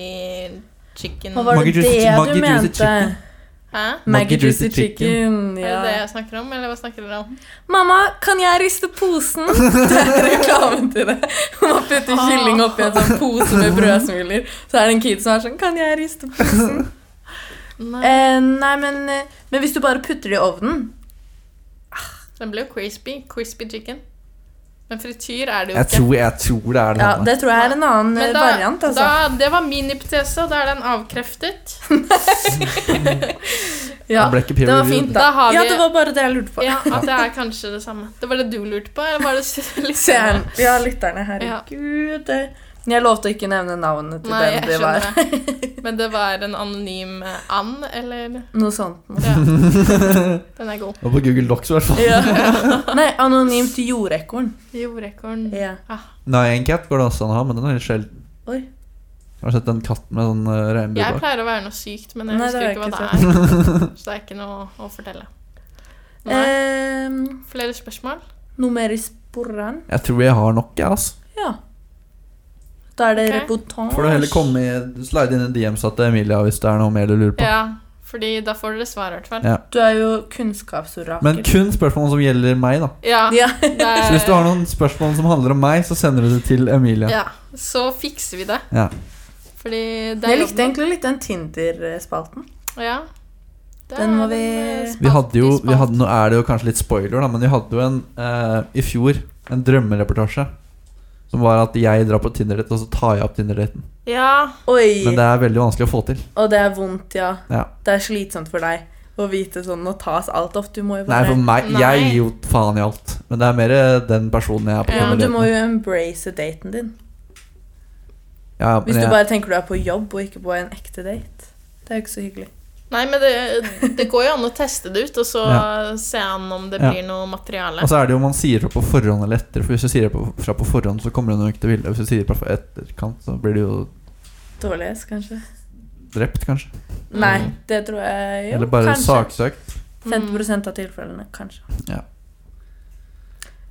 B: chicken
D: Hva var det
C: Maggi
D: det
C: juicy- Maggi
D: du
C: juicy
D: mente?
C: chicken.
B: Hæ?
D: Maggi
C: Maggi
D: juicy
C: juicy
D: chicken.
B: Er det det
D: Ja.
B: jeg snakker om, eller hva snakker dere om?
D: Mamma, kan jeg riste
C: [laughs]
D: posen? Det er reklamen til det. Man putter
B: Ah.
D: kylling oppi en sånn pose
C: [laughs]
D: med brødsmuler. Så er det en kid som er sånn Kan jeg riste posen?
C: [laughs]
B: Nei,
D: Eh, nei, men, eh, men hvis du bare putter det i ovnen
B: Den ble jo crispy. Crispy chicken. Men frityr er det jo
C: Jeg
B: ikke.
C: tror, jeg tror det er det
D: Ja,
C: samme.
D: det tror jeg er en annen eh,
B: Men da,
D: variant, altså.
B: da, det var min hypotese, og da er den avkreftet.
D: Ja,
C: Det ble ikke peer
D: det var
C: reviewed.
D: fint,
B: Da
D: da.
B: har
D: Ja,
B: vi-
D: det var bare det jeg lurte
B: [laughs]
D: på.
B: Ja, At det er kanskje det samme. Det var det du lurte på? Eller var det s- [laughs] litt
D: Seeren. Ja, lytterne. Herregud. det- Jeg lovte å ikke nevne navnet til
B: Nei, jeg
D: den det var.
B: skjønner det. Men det var en anonym eh, and, eller
D: [laughs] Noe sånt. noe.
B: ja. Den er god.
C: Og på Google Docs, i hvert
D: [laughs]
C: fall.
D: Nei, anonymt jordekorn.
B: Jordekorn.
D: Ja.
C: Nyan-cat går det også an å ha, men den er litt sjelden.
D: Oi.
C: Har du sett den katten med sånn eh, regnbue
B: Jeg
C: bak?
B: pleier å være noe sykt, men jeg
D: Nei, det
B: husker
D: har
B: ikke hva det
D: jeg
B: er. [laughs] Så det er ikke noe å fortelle. Nei.
D: Ehm,
B: Flere spørsmål?
D: noe mer i sporene?
C: Jeg tror jeg har nok, jeg, altså.
D: Ja. Da er det
B: Ok.
D: reportasje.
C: Får du heller komme i, slide inn i DMs-a til Emilia hvis det er noe mer du lurer på.
B: Ja, fordi da får dere svar, i hvert fall.
C: Ja.
D: Du er jo kunnskapsorakel.
C: Men kun spørsmål som gjelder meg, da.
B: Ja.
D: ja.
B: det er-
D: Eh.
C: Så hvis du har noen spørsmål som handler om meg, så sender du det til Emilia.
B: ja, så fikser vi det.
C: Ja.
B: Fordi det er
D: [laughs] Jeg likte
B: jobben.
D: egentlig litt den Tinder-spalten.
B: Ja. Det
D: Den
B: er
D: må vi-
B: en, eh,
C: Vi hadde jo,
B: spalt i
C: vi hadde,
B: spalten.
C: nå er det jo kanskje litt spoiler, da, men vi hadde jo en eh, i fjor en drømmereportasje. Som var at jeg drar på Tinder-date, og så tar jeg opp Tinder-daten.
B: Ja.
D: Oi!
C: Men det er veldig vanskelig å få til.
D: Og det er vondt, ja.
C: Ja.
D: Det er slitsomt for deg å vite sånn Nå tas alt opp. Du må jo
C: Nei,
D: bare
C: for meg
B: Nei.
C: Jeg gir jo faen i alt. Men det er mer eh, den personen jeg er på
D: ja, men Du må
C: Tinder-daten.
D: jo embrace daten din.
C: Ja, men
D: Hvis du
C: jeg-
D: bare tenker du er på jobb og ikke på en ekte date. Det er jo ikke så hyggelig.
B: Nei, men det, det går jo an å teste det ut, og så se an om det
C: Ja.
B: blir noe materiale.
C: Og så er det jo om man sier det på forhånd eller etter. For hvis du sier det på, fra på forhånd, så kommer hun jo ikke til å ville det. Hvis du sier det på etterkant, så blir du jo
D: Dårligst, kanskje.
C: drept, kanskje.
D: Nei, det tror jeg jo.
C: eller Mm. bare
D: kanskje.
C: saksøkt.
D: 50 av tilfellene, kanskje.
C: Ja.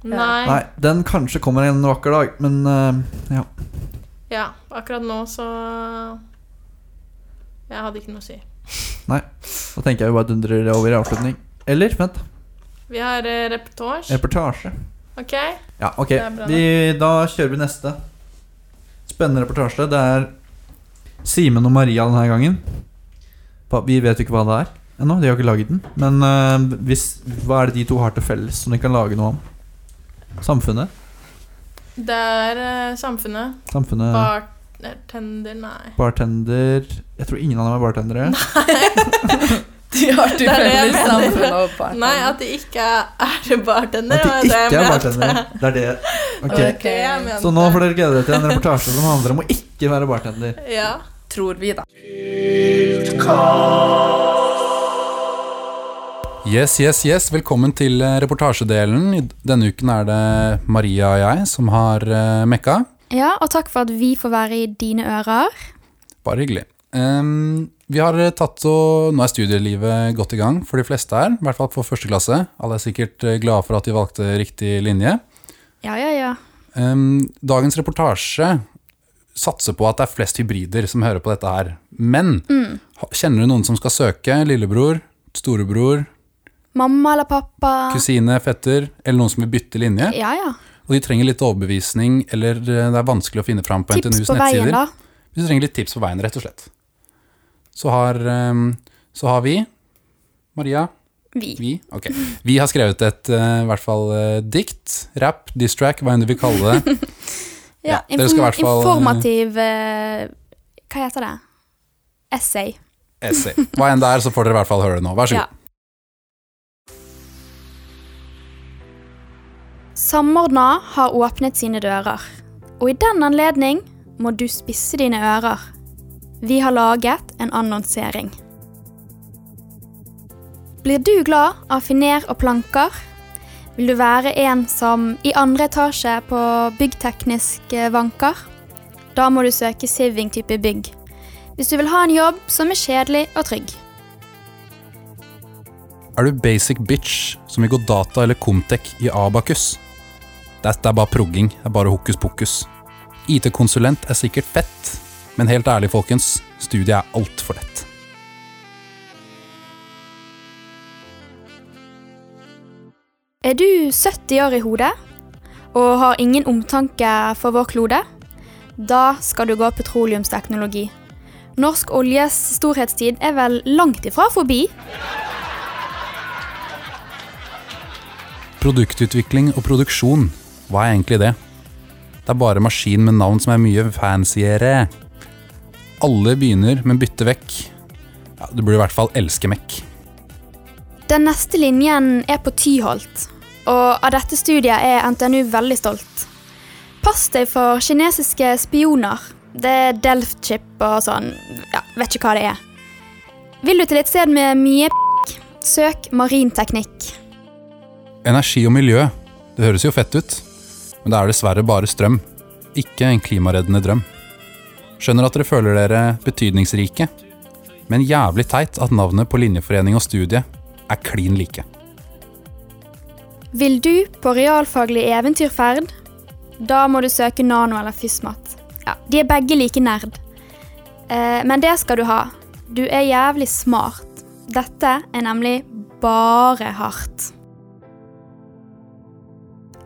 B: Nei.
C: Nei, den kanskje kommer en vakker dag, men eh, ja.
B: Ja, akkurat nå så Jeg hadde ikke noe å si.
C: Da tenker jeg vi bare dundrer over i avslutning. Eller, vent,
B: Vi har eh, reportasje.
C: reportasje.
B: Ok?
C: Ja, ok.
B: Det er bra, da.
C: Vi, da kjører vi neste. Spennende reportasje. Det er Simen og Maria denne gangen. Hva- Vi vet jo ikke hva det er ennå. De har ikke laget den. Men eh, hvis, hva er det de to har til felles som de kan lage noe om? Samfunnet?
B: Det er eh, samfunnet.
C: Samfunnet
B: Bartender Nei.
C: Bartender Jeg tror ingen av dem er bartendere.
D: De
B: [laughs]
D: har
B: Det er det jeg
D: tilfeldigvis
B: mener.
D: samfunnet og partneren.
B: Nei, at de ikke er bartender.
C: At
B: var
C: de
B: det jeg
C: ikke er
B: mente.
C: bartendere. Det er det.
B: [laughs]
C: Ok,
B: Det var det jeg mente.
C: Så nå får dere glede dere til en reportasje som handler om å ikke være bartender.
B: Ja.
D: Tror vi, da.
E: Yes, yes, yes. Velkommen til eh, reportasjedelen. I Denne uken er det Maria og jeg som har eh, mekka.
F: Ja, og takk for at vi får være i dine ører.
E: Bare hyggelig. Ehm, vi har tatt og Nå er studielivet godt i gang for de fleste her. I hvert fall for første klasse. Alle er sikkert eh, glade for at de valgte riktig linje.
F: Ja, ja, ja.
E: Ehm, dagens reportasje satser på at det er flest hybrider som hører på dette her. Men ha- kjenner du noen som skal søke? Lillebror? Storebror?
F: Mamma eller pappa.
E: Kusine? Fetter? Eller noen som vil bytte linje?
F: Ja, ja.
E: Og de trenger litt overbevisning, eller eh, det er vanskelig å finne fram på
F: Tips
E: NTNUs
F: på veien,
E: nettsider.
F: da.
E: Hvis du trenger litt tips på veien, rett og slett. Så har, eh, så har vi Maria,
F: Vi.
E: vi, ok. Vi har skrevet et eh, i hvert fall eh, dikt, rap, distrack, hva enn du vil kalle
F: [laughs]
E: det.
F: Ja,
E: Ja, dere skal i hvert fall-
F: informativ eh, Hva heter det? Essay.
E: Essay. Hva enn det er, så får dere i hvert fall høre det nå. Vær så
F: Ja.
E: god.
F: Samordna har åpnet sine dører, og i den anledning må du spisse dine ører. Vi har laget en annonsering. Blir du glad av finer og planker? Vil du være en som i andre etasje på byggteknisk eh, vanker? Da må du søke Siving type bygg. Hvis du vil ha en jobb som er kjedelig og trygg.
E: Er du basic bitch som vil gå data eller Comtec i Abakus? Dette er bare progging, det er bare hokus pokus. IT-konsulent er sikkert fett, men helt ærlig folkens, studiet er altfor lett.
F: Er du 70 år i hodet og har ingen omtanke for vår klode? Da skal du gå petroleumsteknologi. Norsk oljes storhetstid er vel langt ifra forbi?
E: Produktutvikling og produksjon, hva er egentlig det? Det er bare maskin med navn som er mye fancyere. Alle begynner, men bytter vekk. Ja, du burde i hvert fall elske Mekk.
F: Den neste linjen er på Tyholt, og av dette studiet er NTNU veldig stolt. Pass deg for kinesiske spioner. Det er Delft-chip og sånn. Ja, vet ikke hva det er. Vil du til et sted med mye p***, søk marinteknikk.
E: Energi og miljø, det høres jo fett ut, men det er dessverre bare strøm, ikke en klimareddende drøm. Skjønner at dere føler dere betydningsrike, men jævlig teit at navnet på linjeforening og studie er klin like.
F: Vil du på realfaglig eventyrferd? Da må du søke nano eller fysmat. Ja, de er begge like nerd. Eh, men det skal du ha. Du er jævlig smart. Dette er nemlig bare hardt.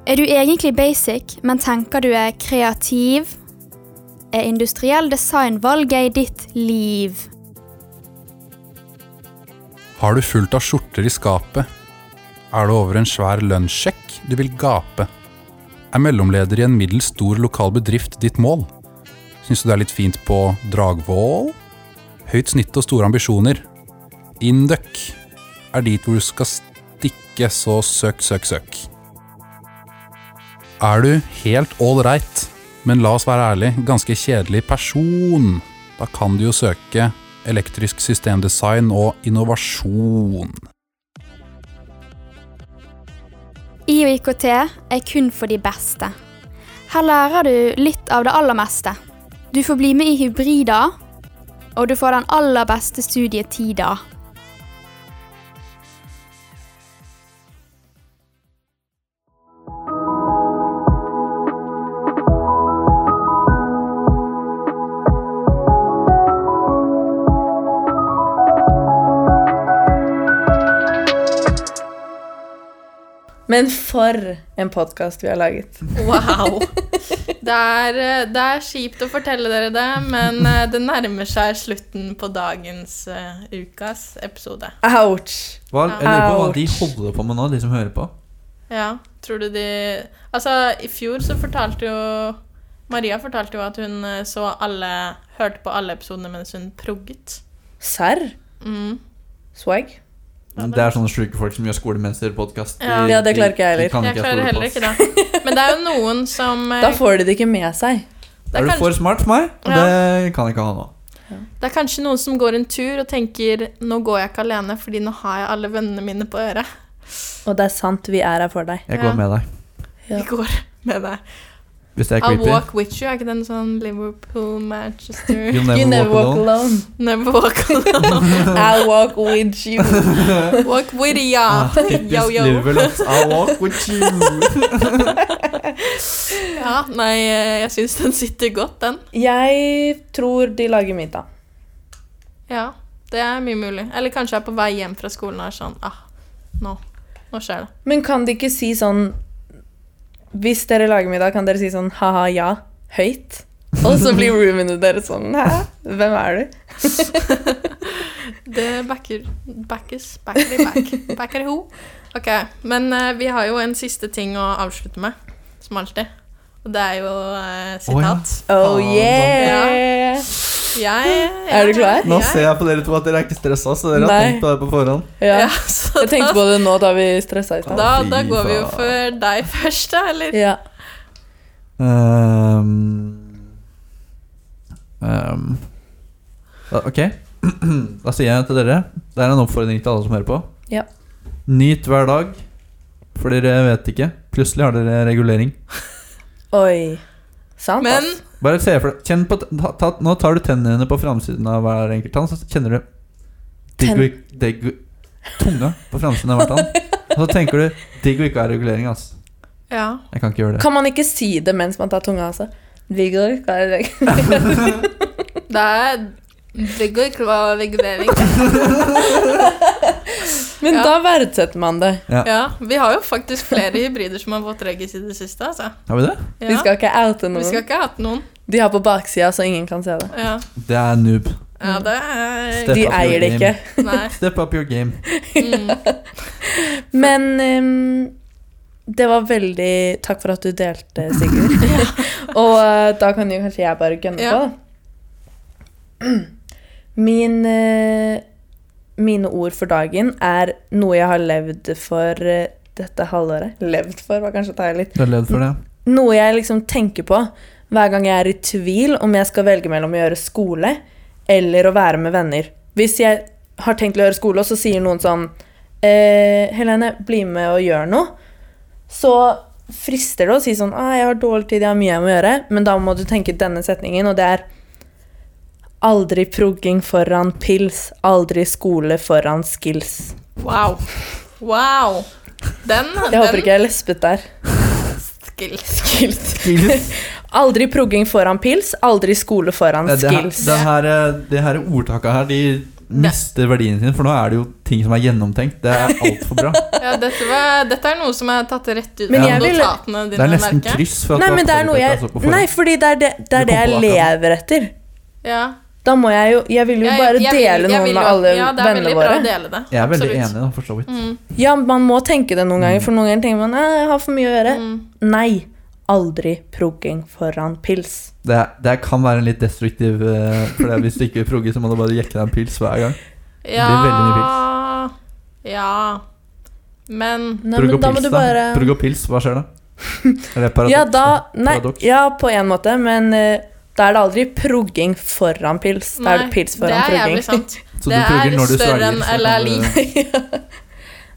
F: Er du egentlig basic, men tenker du er kreativ? Er industriell design valget i ditt liv?
E: Har du fullt av skjorter i skapet? Er du over en svær lønnssjekk? Du vil gape. Er mellomleder i en middels stor lokal bedrift ditt mål? Syns du det er litt fint på Dragvoll? Høyt snitt og store ambisjoner. Induc er dit hvor du skal stikke, så søk, søk, søk. Er du helt ålreit, men la oss være ærlig, ganske kjedelig person, da kan du jo søke elektrisk systemdesign og innovasjon.
F: I og IKT er kun for de beste. Her lærer du litt av det aller meste. Du får bli med i hybrider, og du får den aller beste studietida.
D: Men for en podkast vi har laget.
B: Wow. Det er, eh, det er kjipt å fortelle dere det, men eh, det nærmer seg slutten på dagens eh, ukas episode.
D: Ouch.
C: Hva, jeg lurer på hva de holder på med nå, de som hører på.
B: Ja, tror du de Altså, i fjor så fortalte jo Maria fortalte jo at hun eh, så alle Hørte på alle episodene mens hun progget.
D: Serr?
B: Mm.
D: Swag?
C: Det er sånne sjuke folk som gjør skolemesterpodkast.
B: Ja.
D: Ja, det klarer ikke jeg heller.
B: Jeg klarer heller ikke det. Men det er jo noen som eh,
D: Da får de det ikke med seg.
B: det,
C: Er
B: er
C: du
B: kanskje,
C: for smart for meg?
B: Ja.
C: Det kan jeg ikke ha nå.
B: det er kanskje noen som går en tur og tenker 'Nå går jeg ikke alene, fordi nå har jeg alle vennene mine på øret'.
D: Og det er sant, vi er her for deg.
C: Jeg
B: Ja.
C: går med deg.
B: [laughs]
D: Ja.
B: Vi går med deg.
C: Hvis det er
B: I'll
C: creepy.
B: walk with you. Er ikke den sånn Liverpool, Manchester [laughs]
C: You'll never,
D: You never walk
C: alone.
D: alone.
B: Never walk
C: [laughs]
B: alone.
D: I walk with you.
B: Walk with ya.
C: Ah,
B: [laughs]
C: typisk
B: Yo, yo.
C: Liverpool. I'll walk
B: [laughs]
C: with you.
B: Ja, nei, eh, jeg syns den sitter godt, den.
D: Jeg tror de lager middag.
B: Ja, det er mye mulig. Eller kanskje jeg er på vei hjem fra skolen og er sånn ah, nå, nå skjer det.
D: Men kan de ikke si sånn Hvis dere lager middag, kan dere si sånn ha-ha, ja, høyt? Og så blir roomene deres sånn hæ? Hvem er du?
B: Det backer Backes. Backer i back. Backer i ho. Ok, men eh, vi har jo en siste ting å avslutte med, som alltid. Og det er jo eh, sitat.
D: Oh
C: Faen,
D: yeah!
B: Jeg,
D: Er du klar?
C: Nå
B: Jeg-
C: ser jeg på dere to at dere er ikke stressa, så dere har
D: Nei.
C: tenkt på det på forhånd.
D: Ja.
B: Ja, så
D: Jeg tenkte på det nå da vi stressa i stad.
B: da,
C: Fy
B: da går vi jo
C: faen.
B: for deg [laughs] først, da, eller?
D: Ja.
C: Ehm, ehm, da- ok, [clears throat] da sier jeg til dere Det er en oppfordring til alle som hører på.
D: Ja.
C: Nyt hver dag, for dere vet ikke. Plutselig har dere regulering.
D: Oi. Sant,
B: Men
D: ass.
C: Bare se for deg kjenn på, ta, ta, Nå tar du tennene dine på framsiden av hver enkelt tann, så kjenner du digg og ikk- digg og- tunga på framsiden av hver tann. Og så tenker du digg og ikke ha regulering, ass.
B: Ja.
C: Jeg kan ikke gjøre det.
D: Kan man ikke si det mens man tar tunga, altså? Vigor, hva er det?
B: Det er Viggo regulering.
D: [laughs] [laughs] Men
B: Ja.
D: da verdsetter man det.
B: Ja, vi har jo faktisk flere hybrider som har fått reggis i det siste, altså.
C: Har vi det?
B: Ja.
D: Vi skal ikke oute
B: Vi skal
D: noen.
B: ikke ha hatt noen.
D: De har på baksida, så ingen kan se det.
B: Ja,
C: Det er noob.
B: ja
D: Mm.
B: det er
C: Step
D: De
C: up your
D: eier det
C: game.
D: ikke.
B: Nei.
C: Step up your game.
B: Mm.
D: Men ehm, det var veldig Takk for at du delte, Sigurd. [laughs] Og eh, da kan jo kanskje jeg bare gønne
B: Ja.
D: på, da. [clears throat] Min, eh, mine ord for dagen er noe jeg har levd for eh, dette halvåret. Levd for var kanskje å ta i litt.
C: Du har levd for det?
D: Noe jeg liksom tenker på hver gang jeg er i tvil om jeg skal velge mellom å gjøre skole eller å være med venner. Hvis jeg har tenkt å gjøre skole, og så sier noen sånn eh, 'Helene, bli med og gjør noe', så frister det å si sånn ah, 'Jeg har dårlig tid, jeg har mye jeg må gjøre', men da må du tenke denne setningen, og det er Aldri progging foran pils, aldri skole foran skills.
B: Wow. Wow. Den,
D: Jeg
B: den
D: håper ikke jeg lespet der.
B: skills.
D: Skills.
C: Skills.
D: [laughs] Aldri progging foran pils, aldri skole foran
C: Det, det, her,
D: skills.
C: det, her, eh, det her ordtaket her, de mister verdien sin, for nå er det jo ting som er gjennomtenkt. Det er altfor
D: [laughs]
C: bra.
B: Ja, dette, var, dette er noe som er tatt rett ut
D: Men
B: av
D: jeg vil-
B: notatene
C: Det
B: dine.
C: er nesten
B: merker jeg.
C: kryss. For at
D: Nei,
C: du har
D: men det er noe jeg
C: forberedt deg så altså, på forhånd.
D: Nei, fordi det er det, det,
C: Du
D: er det
C: kom
D: jeg
C: på
D: lever etter.
B: Ja.
D: Da må jeg jo Jeg vil jo
B: Jeg-
D: bare
B: jeg vil- jeg
D: dele noe
B: vil
D: med
B: jo-
D: alle
B: ja, det er
D: vennene
B: veldig bra
D: våre.
B: å dele det.
C: Jeg er veldig
B: Absolutt.
C: enig, da, for så vidt.
D: Ja, man må tenke det noen
C: Mm.
D: ganger, for noen ganger tenker man «Nei, jeg har for mye å gjøre.
B: Mm.
D: Nei. Aldri progging foran pils.
C: Det, er- det kan være en litt destruktiv eh, For det, er hvis du ikke vil progge, så må du bare jekke deg en pils hver gang. blir veldig mye
B: Ja. ja. Men
D: Nei,
C: Progg
D: men
C: og
D: da må
C: pils,
D: du
C: da.
D: bare
C: Progg og pils, hva
D: [laughs]
C: skjer da? Er det paradoks?
D: Ja, da Nei,
C: Paradoks.
D: ja, på en måte, men eh, da er det aldri progging foran pils. Da er det
B: nei,
D: pils
B: det
D: foran
B: er jævlig
D: progging.
B: sant.
C: [laughs] Så du
B: det
C: progger
B: er
C: når du liksom.
B: større
C: svelger,
B: enn
C: så
B: eller er
C: kan du-
B: lik.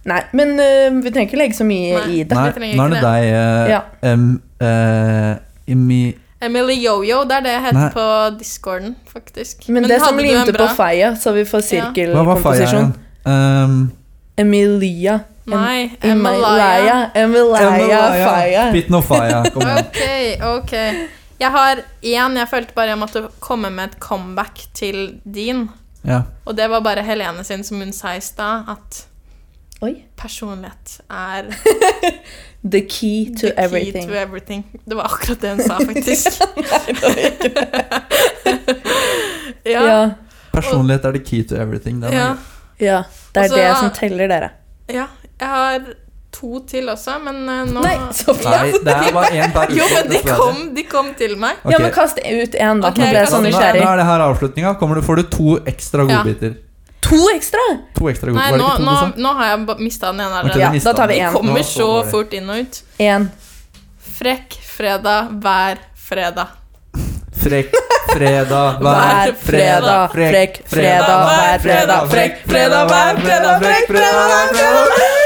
D: Nei, men eh, vi trenger ikke legge så mye
B: Nei.
D: i det.
C: Nei,
B: Jeg trenger
C: nå er
B: ikke
C: det deg, eh,
D: Ja.
C: em, eh, Imi-
B: [laughs] Emily Yo-Yo, det er det jeg
C: Nei.
B: heter på discorden, faktisk.
D: Men, det som
B: hadde du en
D: lignet på
B: bra-
D: Faya, så vi får
B: Ja.
C: Hva var feia
D: sirkelkomposisjon.
C: igjen? Um,
D: Emilia.
B: Nei, Emalaya.
D: Emalaya. Emalaya Faya.
C: Spit no fire,
B: [laughs]
C: kom
B: Ok,
C: igjen.
B: ok. Jeg har én jeg følte bare jeg måtte komme med et comeback til din.
C: Ja.
B: Og det var bare Helene sin, som hun sa i stad, at
D: Oi.
B: Personlighet er
D: The key
B: the
D: to
B: key
D: everything.
B: to everything. Det var akkurat det hun sa,
D: [laughs]
B: faktisk. ja.
D: ja.
C: Personlighet er the key to everything. Den er
B: ja.
C: grei.
D: ja. Det er
B: Altså,
D: det
B: ja.
D: som teller, dere.
B: Ja, jeg har to til også, men eh, nå
D: Nei, så
C: Nei, det er bare én per
B: Jo,
C: uke,
B: men de
C: dessverre.
B: kom, de kom til meg.
D: Ja,
C: Ok,
D: men kast ut én, da.
B: Ok,
D: Nå ble jeg
B: kast-
D: så
C: nå, nå
D: nysgjerrig.
C: er det her avslutninga. Kommer du- Får du to ekstra
B: Ja.
C: godbiter?
D: To ekstra!
C: To ekstra
B: Nei, nå,
C: godbiter. Var det ikke to
B: nå,
C: du sa?
B: nå har jeg mista den ene
C: Ok,
B: allerede.
D: Ja,
C: det mistet
D: da tar vi
C: jeg.
D: en.
B: De kommer
C: Nå
B: så
C: går det.
B: fort inn og ut.
D: Én.
B: Frekk fredag hver fredag.
C: Frekk fredag
D: Hver fredag. Frekk fredag. Hver fredag. Frekk fredag. Hver fredag. Frekk fredag. Hver fredag.
C: fredag.